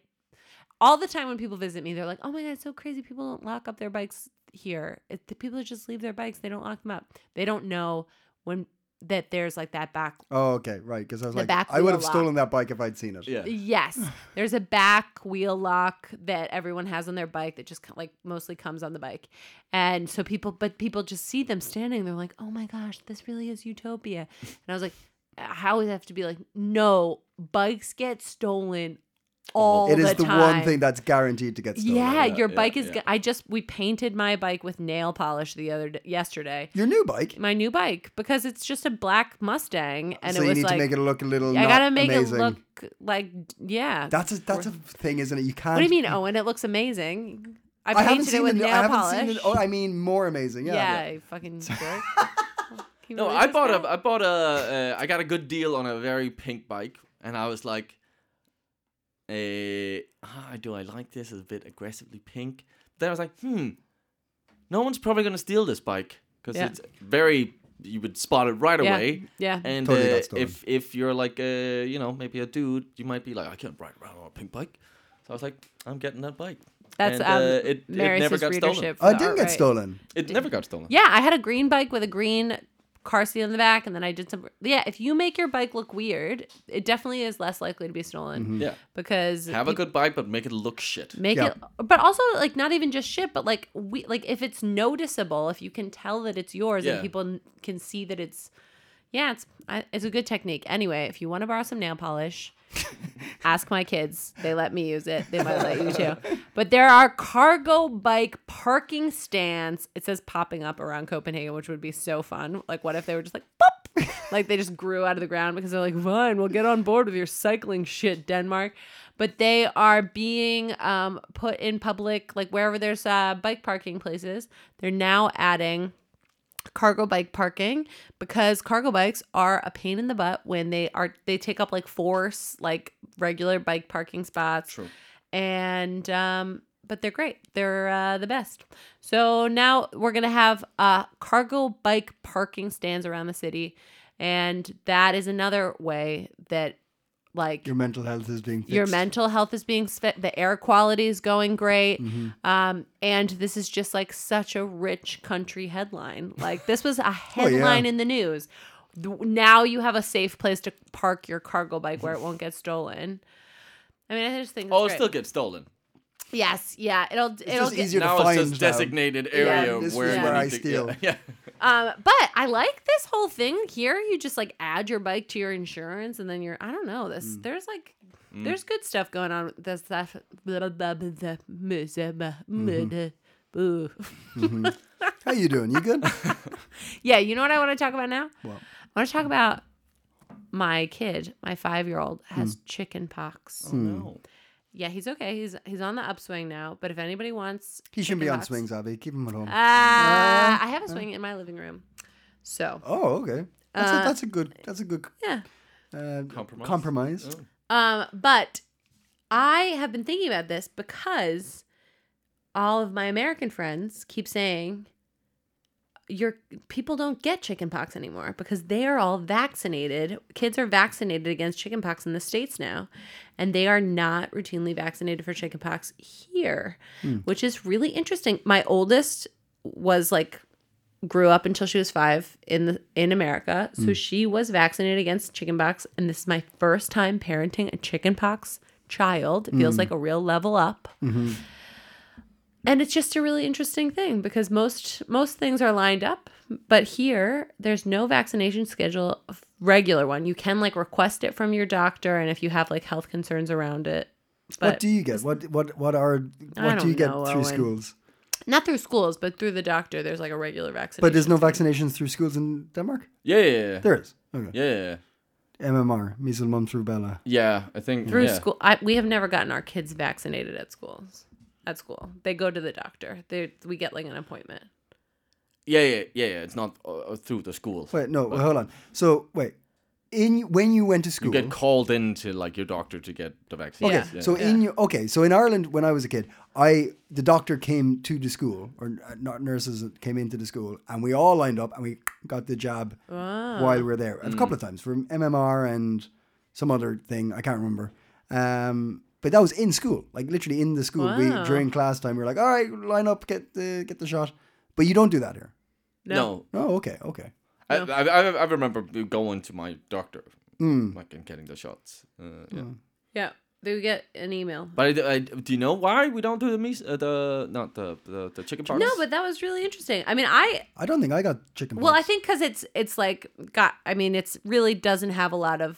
A: all the time when people visit me, they're like, "Oh my god, it's so crazy! People don't lock up their bikes here. It, the people just leave their bikes. They don't lock them up. They don't know when that there's like that back.
C: Oh, okay, right. Because I was
A: The
C: like,
A: back
C: I would
A: wheel
C: have stolen that bike if I'd seen it.
B: yeah.
A: Yes, there's a back wheel lock that everyone has on their bike that just co- like mostly comes on the bike, and so people, but people just see them standing. They're like, "Oh my gosh, this really is utopia." And I was like, "Uh, "How would it have to be like? No, bikes get stolen." All
C: it is the,
A: time.
C: one thing that's guaranteed to get stolen.
A: Yeah,
B: Yeah,
A: your
B: yeah,
A: bike is.
B: yeah.
A: go- I just we painted my bike with nail polish the other d- yesterday.
C: Your new bike.
A: My new bike because it's just a black Mustang, and
C: so
A: it
C: you
A: was
C: need
A: like
C: to make it look a little.
A: I
C: not
A: gotta make it
C: amazing.
A: look like yeah.
C: That's a that's a thing, isn't it? You can't.
A: what do you mean, Owen? It looks amazing. I
C: I
A: painted
C: haven't
A: it
C: seen
A: with
C: the. new- I
A: nail
C: haven't
A: polish.
C: seen it. Oh, I mean, more amazing. Yeah.
A: yeah, you fucking jerk. Can you
B: No,
A: believe
B: I
A: this
B: bought a,
A: guy?
B: I bought a, uh, I got a good deal on a very pink bike, and I was like, eh, ah, do I like this? It's a bit aggressively pink. Then I was like, hmm, no one's probably gonna steal this bike because
A: Yeah.
B: it's very, you would spot it right
A: Yeah.
B: away.
A: Yeah.
B: And
C: Totally got
B: uh,
C: stolen.
B: if if you're like, uh, you know, maybe a dude, you might be like, I can't ride around on a pink bike. So I was like, I'm getting that bike.
A: That's
B: and,
A: um,
B: uh, it, it never
A: Marius's
B: got stolen.
A: readership. for
C: I
A: the
C: Oh, didn't get
A: Arkwright.
C: stolen.
B: It never got stolen.
A: Yeah, I had a green bike with a green car seat on the back, and then I did some. Yeah, if you make your bike look weird, it definitely is less likely to be stolen
C: Mm-hmm.
B: Yeah.
A: because
B: Have a
A: peop-
B: good bike, but make it look shit.
A: make
C: Yeah.
A: it. But also, like, not even just shit, but like we like if it's noticeable, if you can tell that it's yours
B: Yeah.
A: and people n- can see that it's. Yeah, it's I, it's a good technique. Anyway, if you want to borrow some nail polish, ask my kids. They let me use it. They might let you too. But there are cargo bike parking stands. It says popping up around Copenhagen, which would be so fun. Like, what if they were just like pop, like they just grew out of the ground because they're like, fine, we'll get on board with your cycling shit, Denmark. But they are being um, put in public, like wherever there's uh, bike parking places. They're now adding cargo bike parking because cargo bikes are a pain in the butt when they are they take up like four s- like regular bike parking spots
B: True.
A: and um but they're great they're uh, the best so now we're gonna have uh cargo bike parking stands around the city and that is another way that like
C: Your mental health is being fixed.
A: your mental health is being spent the air quality is going great
C: Mhm.
A: um, and this is just like such a rich country headline like this was a
C: Oh, yeah.
A: headline in the news Th- now you have a safe place to park your cargo bike where it won't get stolen i mean i just think it's
B: Oh, it
A: great.
B: still gets stolen.
A: yes yeah it'll it'll
C: just
A: get,
C: easier to
B: now it's
C: find
B: just
C: now.
B: designated area
A: this
C: is
B: where, you
A: where
B: need
C: I
B: to- yeah,
C: steal.
B: Yeah,
A: um but i like this whole thing here you just like add your bike to your insurance and then you're i don't know this
C: Mm.
A: there's like there's good stuff going on with this stuff blah, blah, blah, blah, blah,
C: Mm-hmm.
A: blah, blah, blah, blah. Ooh.
C: How you doing? You good?
A: Yeah, you know what I want to talk about now?
C: What?
A: I want to talk about my kid, my five year old,
C: Mm.
A: has chicken pox.
C: Oh. Hmm.
B: No.
A: Yeah, he's okay. He's he's on the upswing now. But if anybody wants,
C: He shouldn't be on
A: chickenpox-
C: swings, Uh, Abby. Keep him at home.
A: Uh, I have a swing in my living room, so
C: oh, okay. That's,
A: uh,
C: a, that's a good. That's a good
A: yeah.
C: uh,
B: Compromise?
C: Compromise.
A: Um, but I have been thinking about this because all of my American friends keep saying your people don't get chickenpox anymore because they are all vaccinated. Kids are vaccinated against chickenpox in the states now, and they are not routinely vaccinated for chickenpox here, which is really interesting. My oldest was like grew up until she was five in the in America. So
C: Mm.
A: she was vaccinated against chickenpox, and this is my first time parenting a chickenpox child. It
C: Mm.
A: feels like a real level up.
C: Mm-hmm.
A: And it's just a really interesting thing because most most things are lined up, but here there's no vaccination schedule, a regular one. You can like request it from your doctor, and if you have like health concerns around it,
C: What
A: but
C: do you get? What what what are what do you
A: don't
C: get
A: know,
C: through
A: Owen.
C: schools?
A: not through schools, but through the doctor, there's like a regular vaccination.
C: But there's no vaccinations through schools in Denmark.
B: Yeah, yeah, yeah.
C: There is. Okay.
B: yeah, yeah.
C: MMR, measles, mumps, rubella.
B: Yeah, I think
A: through
B: yeah.
A: school I, we have never gotten our kids vaccinated at schools at school they go to the doctor they we get like an appointment
B: Yeah, yeah, yeah, yeah. It's not uh, through the school.
C: Wait, no, hold on. So wait, in when you went to
B: You
C: school,
B: get called into like your doctor to get the vaccine.
C: Okay,
A: Yeah.
C: so in your okay, so in Ireland when I was a kid, I the doctor came to the school or uh, not nurses came into the school and we all lined up and we got the jab
A: Ah.
C: while we were there a
A: Hmm.
C: couple of times for MMR and some other thing I can't remember. Um, but that was in school, like literally in the school.
A: Wow.
C: We during class time we were like, all right, line up, get the get the shot. But you don't do that here.
B: no,
C: Oh, okay, okay.
B: I, I, I, I remember going to my doctor,
C: Hmm.
B: like and getting the shots. Uh, yeah.
A: yeah they get an email
B: But I, I, do you know why we don't do the meat, uh, the not the the, the chicken parts?
A: no but that was really interesting i mean i
C: I don't think I got chicken.
A: well i
C: pox.
A: think because it's it's like got i mean it's really doesn't have a lot of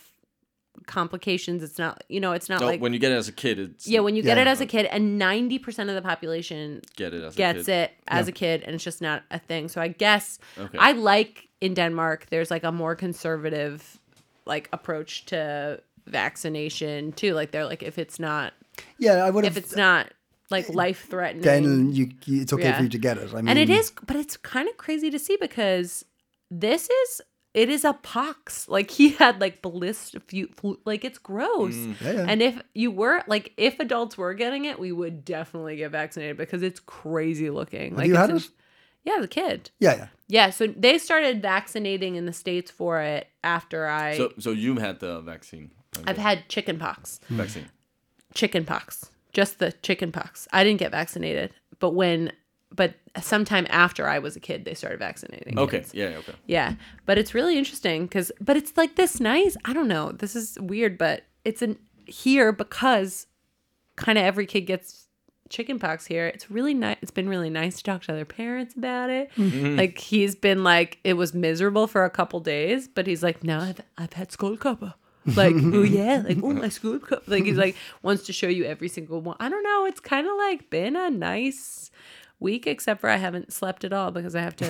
A: complications it's not you know it's not
B: no,
A: like
B: when you get it as a kid, it's
A: yeah when you get
C: Yeah.
A: it as a kid and 90% of the population
B: get it as a
A: gets
B: kid.
A: it as a kid and it's just not a thing. So I guess
B: Okay.
A: I like in Denmark there's like a more conservative like approach to vaccination too. Like they're like if it's not
C: yeah, I would
A: if
C: have.
A: it's not like life threatening
C: Then you, you- it's okay
A: Yeah.
C: for you to get it. I mean,
A: and it is but it's kind of crazy to see because this is it is a pox like he had like blist fu- flu, like it's gross
C: Yeah, yeah.
A: and if you were like if adults were getting it we would definitely get vaccinated because it's crazy looking like
C: you
A: it's
C: had
A: in-
C: it?
A: yeah as a kid
C: Yeah, yeah.
A: yeah so they started vaccinating in the states for it after i
B: So so you had the vaccine. Okay.
A: i've had chicken pox
B: vaccine.
C: Hmm.
A: chicken pox just the chicken pox i didn't get vaccinated but when but sometime after i was a kid they started vaccinating
B: Okay.
A: kids.
B: Yeah. Okay.
A: Yeah, but it's really interesting because, but it's like this nice. I don't know. This is weird, but it's an here because kind of every kid gets chickenpox here. It's really nice. It's been really nice to talk to other parents about it. Like he's been like it was miserable for a couple days, but he's like now I've I've had skull copper. Like oh yeah, like oh my skull copper. Like he's like wants to show you every single one. I don't know. It's kind of like been a nice week, except for I haven't slept at all because I have to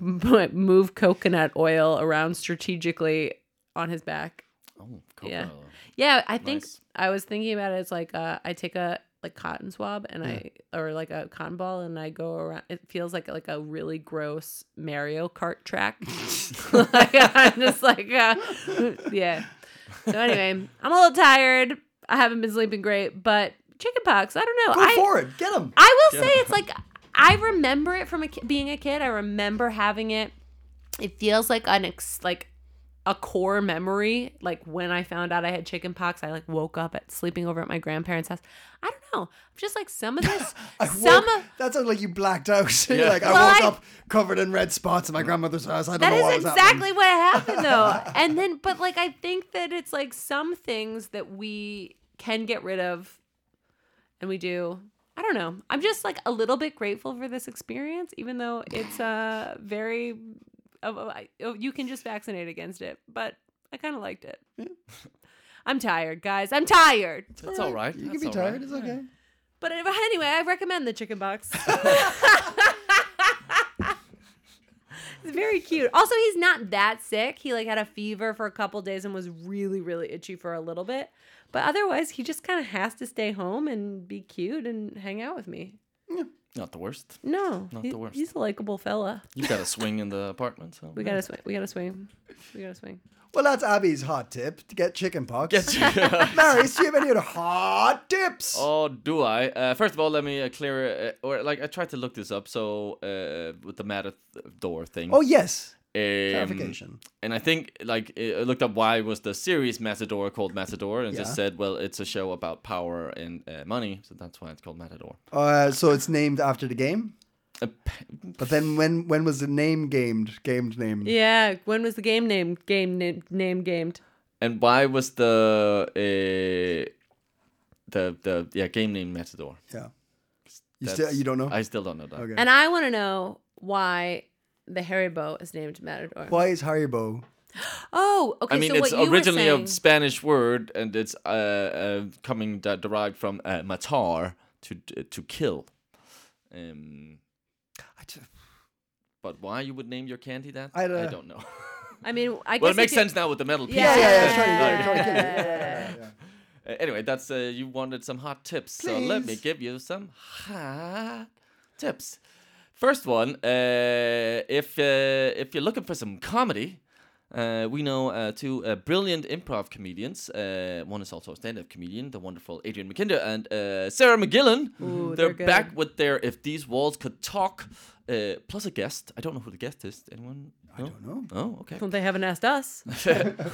A: m- move coconut oil around strategically on his back.
B: Oh,
A: Yeah.
B: cool.
A: Yeah, I think
B: Nice.
A: I was thinking about it. It's like uh, I take a like cotton swab and I or like a cotton ball and I go around. It feels like like a really gross Mario Kart track. like I'm just like uh, yeah. So anyway, I'm a little tired. I haven't been sleeping great, but chickenpox. I don't know.
C: Go
A: I
C: for it. Get him.
A: I will say it's like I remember it from a ki- being a kid. I remember having it. It feels like an ex- like a core memory. Like when I found out I had chicken pox, I like woke up at sleeping over at my grandparents' house. I don't know. I'm just like some of this,
C: I
A: some
C: woke-
A: of
C: that sounds like you blacked out. You're
B: Yeah.
C: like, I
A: Well,
C: woke
A: I-
C: up covered in red spots at my grandmother's house. I don't
A: That
C: know what
A: is
C: was
A: exactly what happened though. and then but like I think that it's like some things that we can get rid of and we do. I don't know. I'm just like a little bit grateful for this experience even though it's uh very of I- oh, you can just vaccinate against it, but I kind of liked it. I'm tired, guys. I'm tired.
B: That's all right.
C: happening. You
B: That's
C: can be
B: all right.
C: tired. It's okay.
A: But anyway, I recommend the chicken box. it's very cute. Also, he's not that sick. He like had a fever for a couple days and was really, really itchy for a little bit. But otherwise, he just kind of has to stay home and be cute and hang out with me.
B: Not the worst.
A: No,
B: Not
A: he-
B: the worst.
A: he's a likable fella.
B: You got a swing in the apartment. So
A: We gotta swing. We gotta swing. We gotta swing.
C: Well, that's Abby's hot tip to get chicken pox.
B: Yes.
C: Marius, do you have any other hot tips?
B: Oh, do I? Uh, first of all, let me uh, clear, uh, or like I tried to look this up. So uh, with the matter door thing.
C: Oh, yes.
B: Um,
C: Clarification.
B: and I think like I looked up why was the series Matador called Matador, and it
C: Yeah.
B: just said, well, it's a show about power and uh, money, so that's why it's called Matador.
C: Uh, so it's named after the game.
B: Uh, p-
C: But then when when was the name gamed? Gamed named.
A: Yeah. When was the game named? Game name, name gamed.
B: and why was the uh, the the yeah game name Matador?
C: Yeah. You still
B: That's-
C: you don't know?
B: I still don't know that.
C: Okay.
A: And I want to know why the Haribo is named Matador.
C: Why is Haribo?
A: Oh, okay.
B: I mean,
A: so
B: it's
A: what you
B: originally
A: were saying,
B: a Spanish word, and it's uh, uh, coming de- derived from uh, matar to to kill. Um,
C: I just,
B: but why you would name your candy that?
C: I don't know.
B: don't know.
A: I mean, I guess
B: well, it
A: if
B: makes
A: you-
B: sense now with the metal piece.
A: Yeah,
C: yeah, yeah,
A: yeah,
C: yeah, sure, yeah,
A: yeah,
C: sure,
A: yeah,
C: yeah,
A: yeah,
C: yeah, yeah, yeah.
B: Uh, anyway, that's uh, you wanted some hot tips, so let me
C: Please.
B: give you some hot tips. First one, uh, if uh, if you're looking for some comedy, uh, we know uh, two uh, brilliant improv comedians. Uh, one is also a stand-up comedian, the wonderful Adrian McKinder and uh, Sarah McGillan.
A: Ooh,
B: they're
A: they're good.
B: back with their "If These Walls Could Talk," uh, plus a guest. I don't know who the guest is. Anyone? I
C: don't know.
B: Oh, okay.
A: Well, they haven't asked us.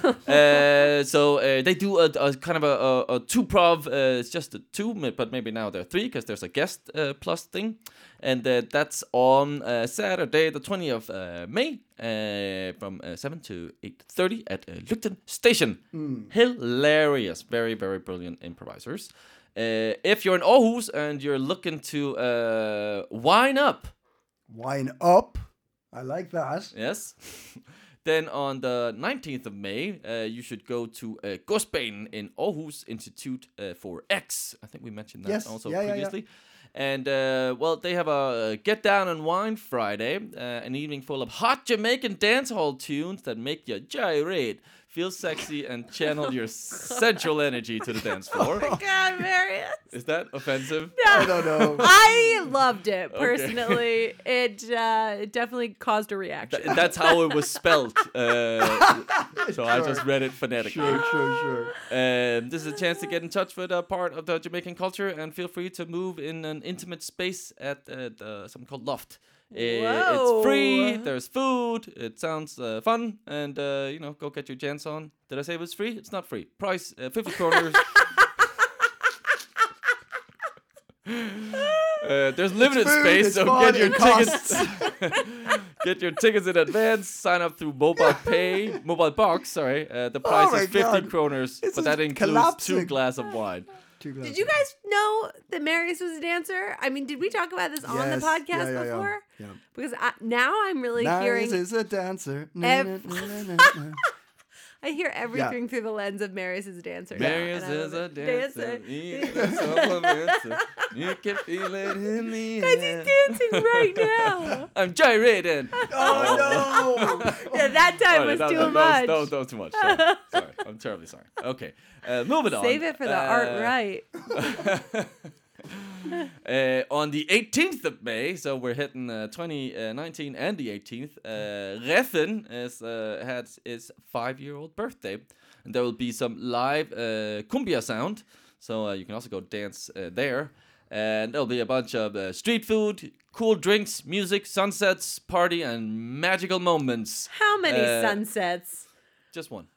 B: Uh, so uh, they do a, a kind of a, a, a two prov. Uh, it's just a two, ma- but maybe now there are three because there's a guest uh, plus thing, and uh, that's on uh, Saturday, the 20th of uh, May, uh, from uh, 7 to 8:30 at uh, Luton Station. Hilarious, very very brilliant improvisers. Uh, if you're in Aarhus and you're looking to uh, wine up,
C: Wine up. I like that.
B: Yes. then on the 19th of May, uh, you should go to uh, Gospelen in Aarhus Institute uh, for X. I think we mentioned that
C: Yes,
B: also
C: yeah, yeah, yeah.
B: previously. And uh, well, they have a Get Down and Wine Friday, uh, an evening full of hot Jamaican dancehall tunes that make you gyrate, feel sexy, and channel your sensual energy to the dance floor.
C: Oh,
A: God, Marius.
B: Is that offensive?
C: I don't know.
A: I loved it personally. It uh, it definitely caused a reaction.
B: Th- That's how it was spelled. Uh, so I just read it phonetically.
C: sure, sure, sure.
B: Um, this is a chance to get in touch with a part of the Jamaican culture and feel free to move in an intimate space at uh, the, something called Loft. Uh,
A: Whoa.
B: It's free, there's food, it sounds uh, fun, and uh, you know, go get your jams on. Did I say it was free? It's not free. Price uh, 50 kroners. Uh, there's limited
C: food,
B: space,
C: it's
B: so
C: fun,
B: get your
C: it
B: tickets. get your tickets in advance. Sign up through mobile pay, mobile box. Sorry, uh, the price
C: Oh my
B: is 50
C: God.
B: kroners,
C: This
B: but
C: is
B: that includes two
C: collapsing.
B: glass of wine.
C: Two
A: Did you guys know that Marius was a dancer? I mean, did we talk about this on the
C: Yes.
A: podcast
C: Yeah, yeah, yeah.
A: before?
C: Yeah.
A: Because I, now I'm really
C: Nice
A: hearing,
C: is a dancer. Na,
A: Ev-
C: na, na, na, na, na.
A: I hear everything through the lens of Marius is a dancer. now,
B: Marius
A: and I
B: is a
A: love it.
B: dancer. He's a supplementer. you can feel it in the
A: Guys,
B: air.
A: he's dancing right now.
B: I'm gyrating.
C: oh no!
A: Yeah, that time
B: Sorry,
A: was
B: that-
A: too
B: that-
A: much.
B: That was, that was too much. Sorry. sorry. I'm terribly sorry. Okay. Uh, moving on.
A: Save it for the art
B: Uh,
A: right.
B: Uh, on the 18th of May, so we're hitting uh, 2019 and the 18th, uh, Reffen is, uh, had his five year old birthday. And there will be some live uh, cumbia sound, so uh, you can also go dance uh, there. And there'll be a bunch of uh, street food, cool drinks, music, sunsets, party, and magical moments.
A: How many
B: uh,
A: sunsets?
B: Just one.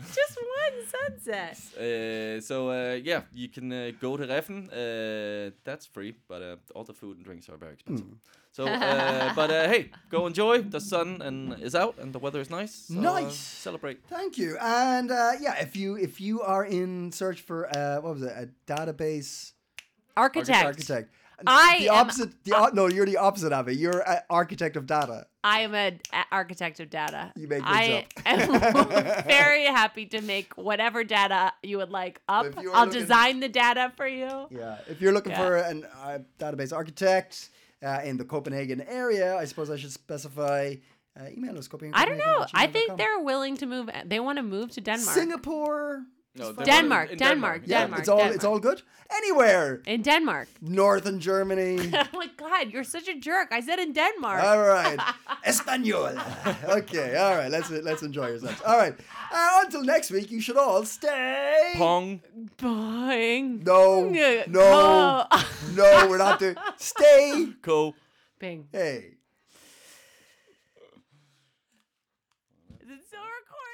A: Just one sunset.
B: Uh, so uh, yeah, you can uh, go to Reffen. Uh, that's free, but uh, all the food and drinks are very expensive.
C: Mm.
B: So, uh, but uh, hey, go enjoy. The sun and is out, and the weather is nice. So, uh,
C: Nice.
B: celebrate.
C: Thank you. And uh, yeah, if you if you are in search for uh, what was it a database
A: Architect.
C: architect,
A: I
C: the
A: am-
C: opposite. The, o- no, you're the opposite of it. You're an architect of data.
A: I am an architect of data.
C: You make
A: I
C: things
A: am very happy to make whatever data you would like up.
C: If you are
A: I'll
C: looking-
A: design the data for you.
C: Yeah, if you're looking
A: Yeah.
C: for an uh, database architect uh, in the Copenhagen area, I suppose I should specify. Uh, email us Copenhagen.
A: I don't know. I think they're willing to move. They want to move to Denmark.
C: Singapore.
B: No,
C: It's
B: they're
C: fine.
A: Denmark,
B: in
A: Denmark,
B: Yeah.
A: Denmark.
C: it's all it's all good. Anywhere,
A: In Denmark.
C: northern Germany.
A: oh my God, you're such a jerk. I said in Denmark.
C: All right, Espanol. Okay, all right. Let's let's enjoy yourselves. All right. Uh, until next week, you should all stay.
B: Pong.
A: Boing.
C: No,
A: Yeah.
C: no,
A: Oh.
C: no. We're not there. Stay.
B: Co.
A: Bing.
C: Hey.
A: Is it still recording?